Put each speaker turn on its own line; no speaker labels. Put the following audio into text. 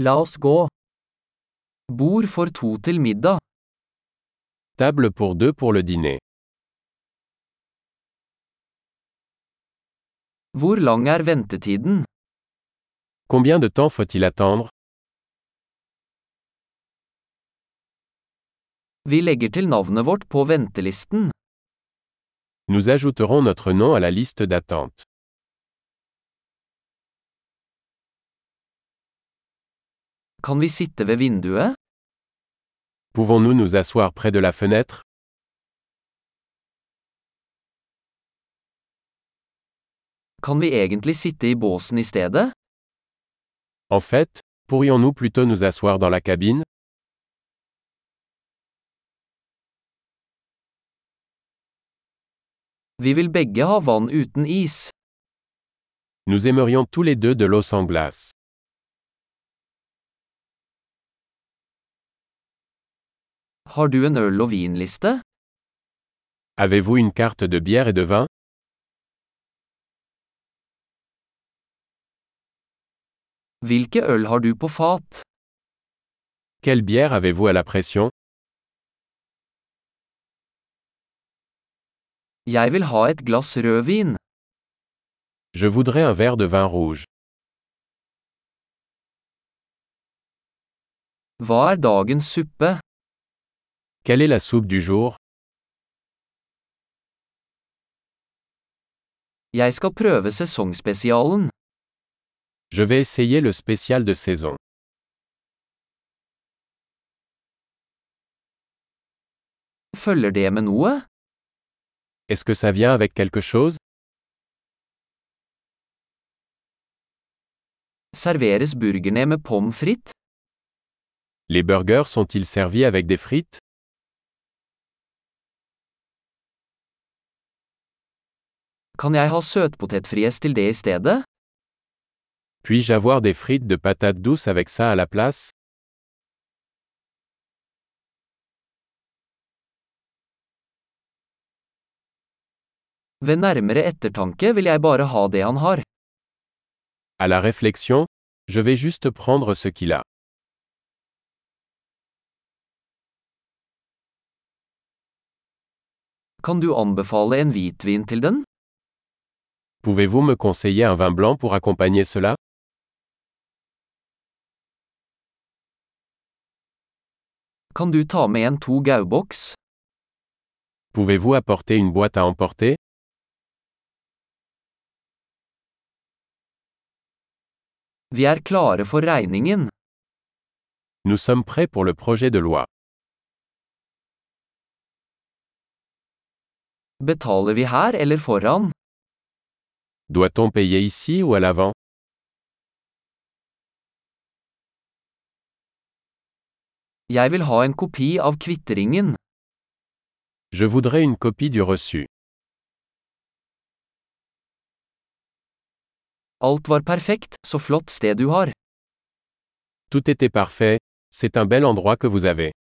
La oss gå. Bord for to til middag.
Table pour deux pour le dîner.
Hvor lang er ventetiden?
Combien de temps faut-il attendre
Vi legger til navnet vårt på ventelisten.
Nous ajouterons notre nom à la liste d'attente.
Kan vi sitte ved vinduet?
Pouvons-nous nous asseoir près de la fenêtre
Kan vi egentlig sitte i båsen i stedet?
En fait, pourrions-nous plutôt nous asseoir dans la cabine
Vi vil begge ha vann uten is.
Nous aimerions tous les deux de l'eau sans glace.
Har du en øl- og vinliste?
Avez-vous une carte de bière et de vin
Hvilke øl har du på fat?
Quelle bière avez-vous à la pression
Jeg vil ha et glass rødvin.
Je voudrais un verre de vin rouge.
Hva er dagens suppe?
Quelle est la soupe du jour
Jeg skal prøve sesongspesialen.
Je vais essayer le spécial de saison.
Følger det med noe?
Est-ce que ça vient avec quelque chose
Serveres burgerne med pommes frites?
Les burgers sont-ils servis avec des frites
Kan jeg ha søtpotetfries til det i stedet?
Puis-je avoir des frites de patates douces avec ça à la place
Ved nærmere ettertanke vil jeg bare ha det han har.
À la réflexion, je vais juste prendre ce qu'il a.
Kan du anbefale en hvitvin til den?
Pouvez-vous me conseiller un vin blanc pour accompagner cela
Kan du ta med en to gauboks?
Pouvez-vous apporter une boîte à emporter
Vi er klare for regningen.
Nous sommes prêts pour le projet de loi.
Betaler vi her eller foran?
Doit-on payer ici ou à l'avant
Jeg vil ha en kopi av kvitteringen.
Je voudrais une copie du reçu.
Alt var perfekt, så flott sted du har.
Tout était parfait, c'est un bel endroit que vous avez.